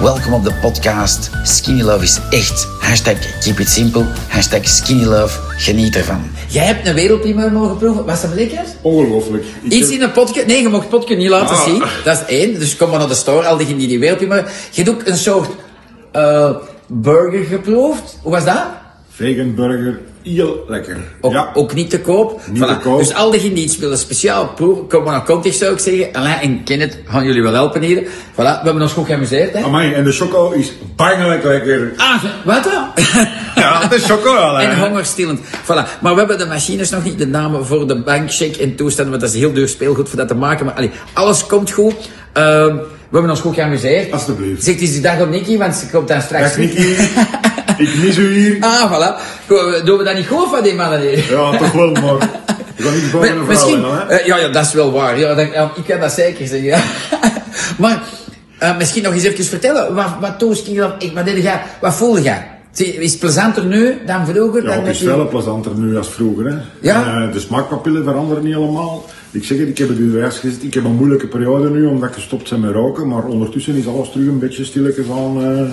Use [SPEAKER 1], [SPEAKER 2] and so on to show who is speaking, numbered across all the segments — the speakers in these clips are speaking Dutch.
[SPEAKER 1] Welkom op de podcast. Skinny Love is echt. Hashtag keep it simple. Hashtag skinny love. Geniet ervan.
[SPEAKER 2] Jij hebt een wereldprimeur mogen proeven. Was dat lekker?
[SPEAKER 3] Ongelooflijk. Ik
[SPEAKER 2] Iets
[SPEAKER 3] heb-
[SPEAKER 2] in een potje. Nee, je mocht het potje niet laten
[SPEAKER 3] Ah.
[SPEAKER 2] zien. Dat is één. Dus kom maar naar de store, al diegenen die die wereldprimeur... Je hebt ook een soort eh, burger geproefd. Hoe was dat?
[SPEAKER 3] Vegan burger, heel lekker.
[SPEAKER 2] Ook,
[SPEAKER 3] ja.
[SPEAKER 2] ook niet te koop.
[SPEAKER 3] Niet te koop.
[SPEAKER 2] Dus al diegenen die iets willen speciaal proeven, kom maar naar Context zou ik zeggen. Alain en Kenneth gaan jullie wel helpen hier. Voilà, we hebben ons goed geamuseerd, hè?
[SPEAKER 3] Amai, en de choco is bangelijk lekker.
[SPEAKER 2] Ah, wat dan?
[SPEAKER 3] Ja, de chocolade.
[SPEAKER 2] En hongerstillend. Voilà. Maar we hebben de machines nog niet, de namen voor de bankcheck en toestanden, want dat is heel duur speelgoed voor dat te maken. Maar allee, alles komt goed. Ehm, we hebben ons goed geamuseerd.
[SPEAKER 3] Alsjeblieft.
[SPEAKER 2] Zeg eens die dag op Nicky, want ze komt dan straks.
[SPEAKER 3] Dag Nicky, ik mis u hier.
[SPEAKER 2] Ah, voilà. Goed, Doen we dat niet goed van die mannen hier?
[SPEAKER 3] Ja, toch wel, maar ik ga niet voor
[SPEAKER 2] Mi-
[SPEAKER 3] een vrouw
[SPEAKER 2] misschien,
[SPEAKER 3] dan, hè.
[SPEAKER 2] eh, ja, ja, dat is wel waar. Ja, dat- ja, ik kan dat zeker zeggen. ja. maar eh, misschien nog eens even vertellen. Wat, wat doe je? Ik, wat, deed jij, wat voelde jij? Zie, Is het plezanter nu dan vroeger?
[SPEAKER 3] Ja,
[SPEAKER 2] dan
[SPEAKER 3] het
[SPEAKER 2] dat
[SPEAKER 3] is
[SPEAKER 2] je-
[SPEAKER 3] wel plezanter nu als vroeger. Hè.
[SPEAKER 2] Ja?
[SPEAKER 3] Eh, de smaakpapillen veranderen niet helemaal. Ik zeg het, ik heb het u juist gezegd, ik heb een moeilijke periode nu omdat ik gestopt ben met roken. Maar ondertussen is alles terug een beetje stilletjes aan. eh,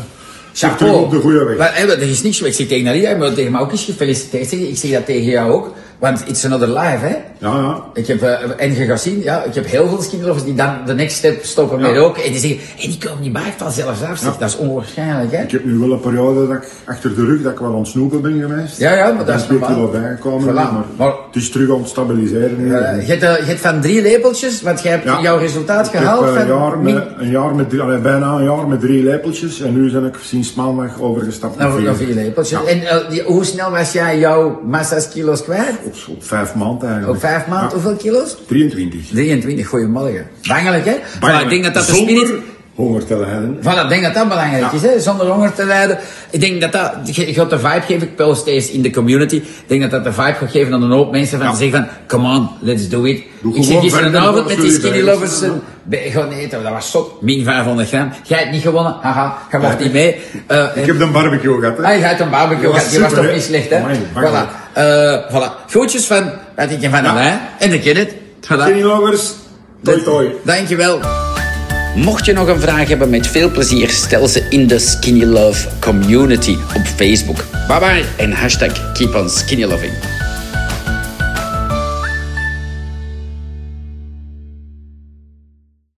[SPEAKER 3] terug
[SPEAKER 2] Chapeau.
[SPEAKER 3] op de goede weg.
[SPEAKER 2] Maar, hè, maar er is niks weg. Ik zeg tegen Nadia, maar tegen mij ook eens gefeliciteerd. zeggen. Ik zeg dat tegen jou ook. Want it's another life, hè?
[SPEAKER 3] Ja, ja.
[SPEAKER 2] Ik heb, eh, en je gaat zien, ja, ik heb heel veel skinloffers die dan de next step stoppen
[SPEAKER 3] Ja.
[SPEAKER 2] met roken. En die zeggen, hey, die komen niet bij vanzelf af. Zeg, Dat is onwaarschijnlijk, hè?
[SPEAKER 3] Ik heb nu wel een periode dat ik achter de rug dat ik wel aan het snoepen ben geweest.
[SPEAKER 2] Ja, ja, maar dat is
[SPEAKER 3] Ik ben
[SPEAKER 2] normaal.
[SPEAKER 3] wel bijgekomen,
[SPEAKER 2] Voilà,
[SPEAKER 3] maar,
[SPEAKER 2] maar-
[SPEAKER 3] het is terug aan het stabiliseren. nu.
[SPEAKER 2] Eh, je, hebt, eh, je hebt van drie lepeltjes, want jij hebt
[SPEAKER 3] Ja.
[SPEAKER 2] jouw resultaat
[SPEAKER 3] Ik heb,
[SPEAKER 2] gehaald.
[SPEAKER 3] eh,
[SPEAKER 2] van
[SPEAKER 3] jaar met,
[SPEAKER 2] min-
[SPEAKER 3] een jaar met drie, allee, bijna een jaar met drie lepeltjes en nu ben ik sinds maandag overgestapt
[SPEAKER 2] nou, nou, vier lepeltjes. En eh, die- hoe snel was jij jouw massa's kilo's kwijt?
[SPEAKER 3] Op, op vijf maanden eigenlijk.
[SPEAKER 2] Op vijf maanden,
[SPEAKER 3] Ja,
[SPEAKER 2] hoeveel kilo's?
[SPEAKER 3] 23.
[SPEAKER 2] 23, goeiemorgen. Bangelijk, hè? Maar ik denk dat dat de
[SPEAKER 3] Zonder
[SPEAKER 2] spirit...
[SPEAKER 3] Honger te lijden.
[SPEAKER 2] Voilà, ik denk dat dat belangrijk
[SPEAKER 3] Ja.
[SPEAKER 2] is, hè? zonder honger te lijden. Ik denk dat dat, je je gaat de vibe geven, ik pel steeds in de community. Ik denk dat dat de vibe gaat geven aan een hoop mensen van
[SPEAKER 3] Ja.
[SPEAKER 2] te zeggen van, come on, let's do it.
[SPEAKER 3] Doe
[SPEAKER 2] ik zit
[SPEAKER 3] gewoon verder,
[SPEAKER 2] gisterenavond
[SPEAKER 3] dat
[SPEAKER 2] met die
[SPEAKER 3] is jullie
[SPEAKER 2] skinny
[SPEAKER 3] bij.
[SPEAKER 2] lovers eh, bij- gaan eten, dat was zot, min 500 gram. Jij hebt niet gewonnen, haha, jij mocht niet mee. Eh,
[SPEAKER 3] Ik heb een barbecue gehad. hè.
[SPEAKER 2] Ah, je gaat een barbecue,
[SPEAKER 3] Dat was
[SPEAKER 2] gehad, die was
[SPEAKER 3] super,
[SPEAKER 2] toch
[SPEAKER 3] hè?
[SPEAKER 2] niet slecht, hè?
[SPEAKER 3] Amai,
[SPEAKER 2] voilà.
[SPEAKER 3] bangelijk.
[SPEAKER 2] Eh voilà. Groetjes van, wat ik je van Alain en de Kenneth. Voilà.
[SPEAKER 3] Skinny lovers, toi toi.
[SPEAKER 2] Dankjewel.
[SPEAKER 1] Mocht je nog een vraag hebben, met veel plezier stel ze in de Skinny Love community op Facebook. Bye bye en hashtag keep on skinny loving.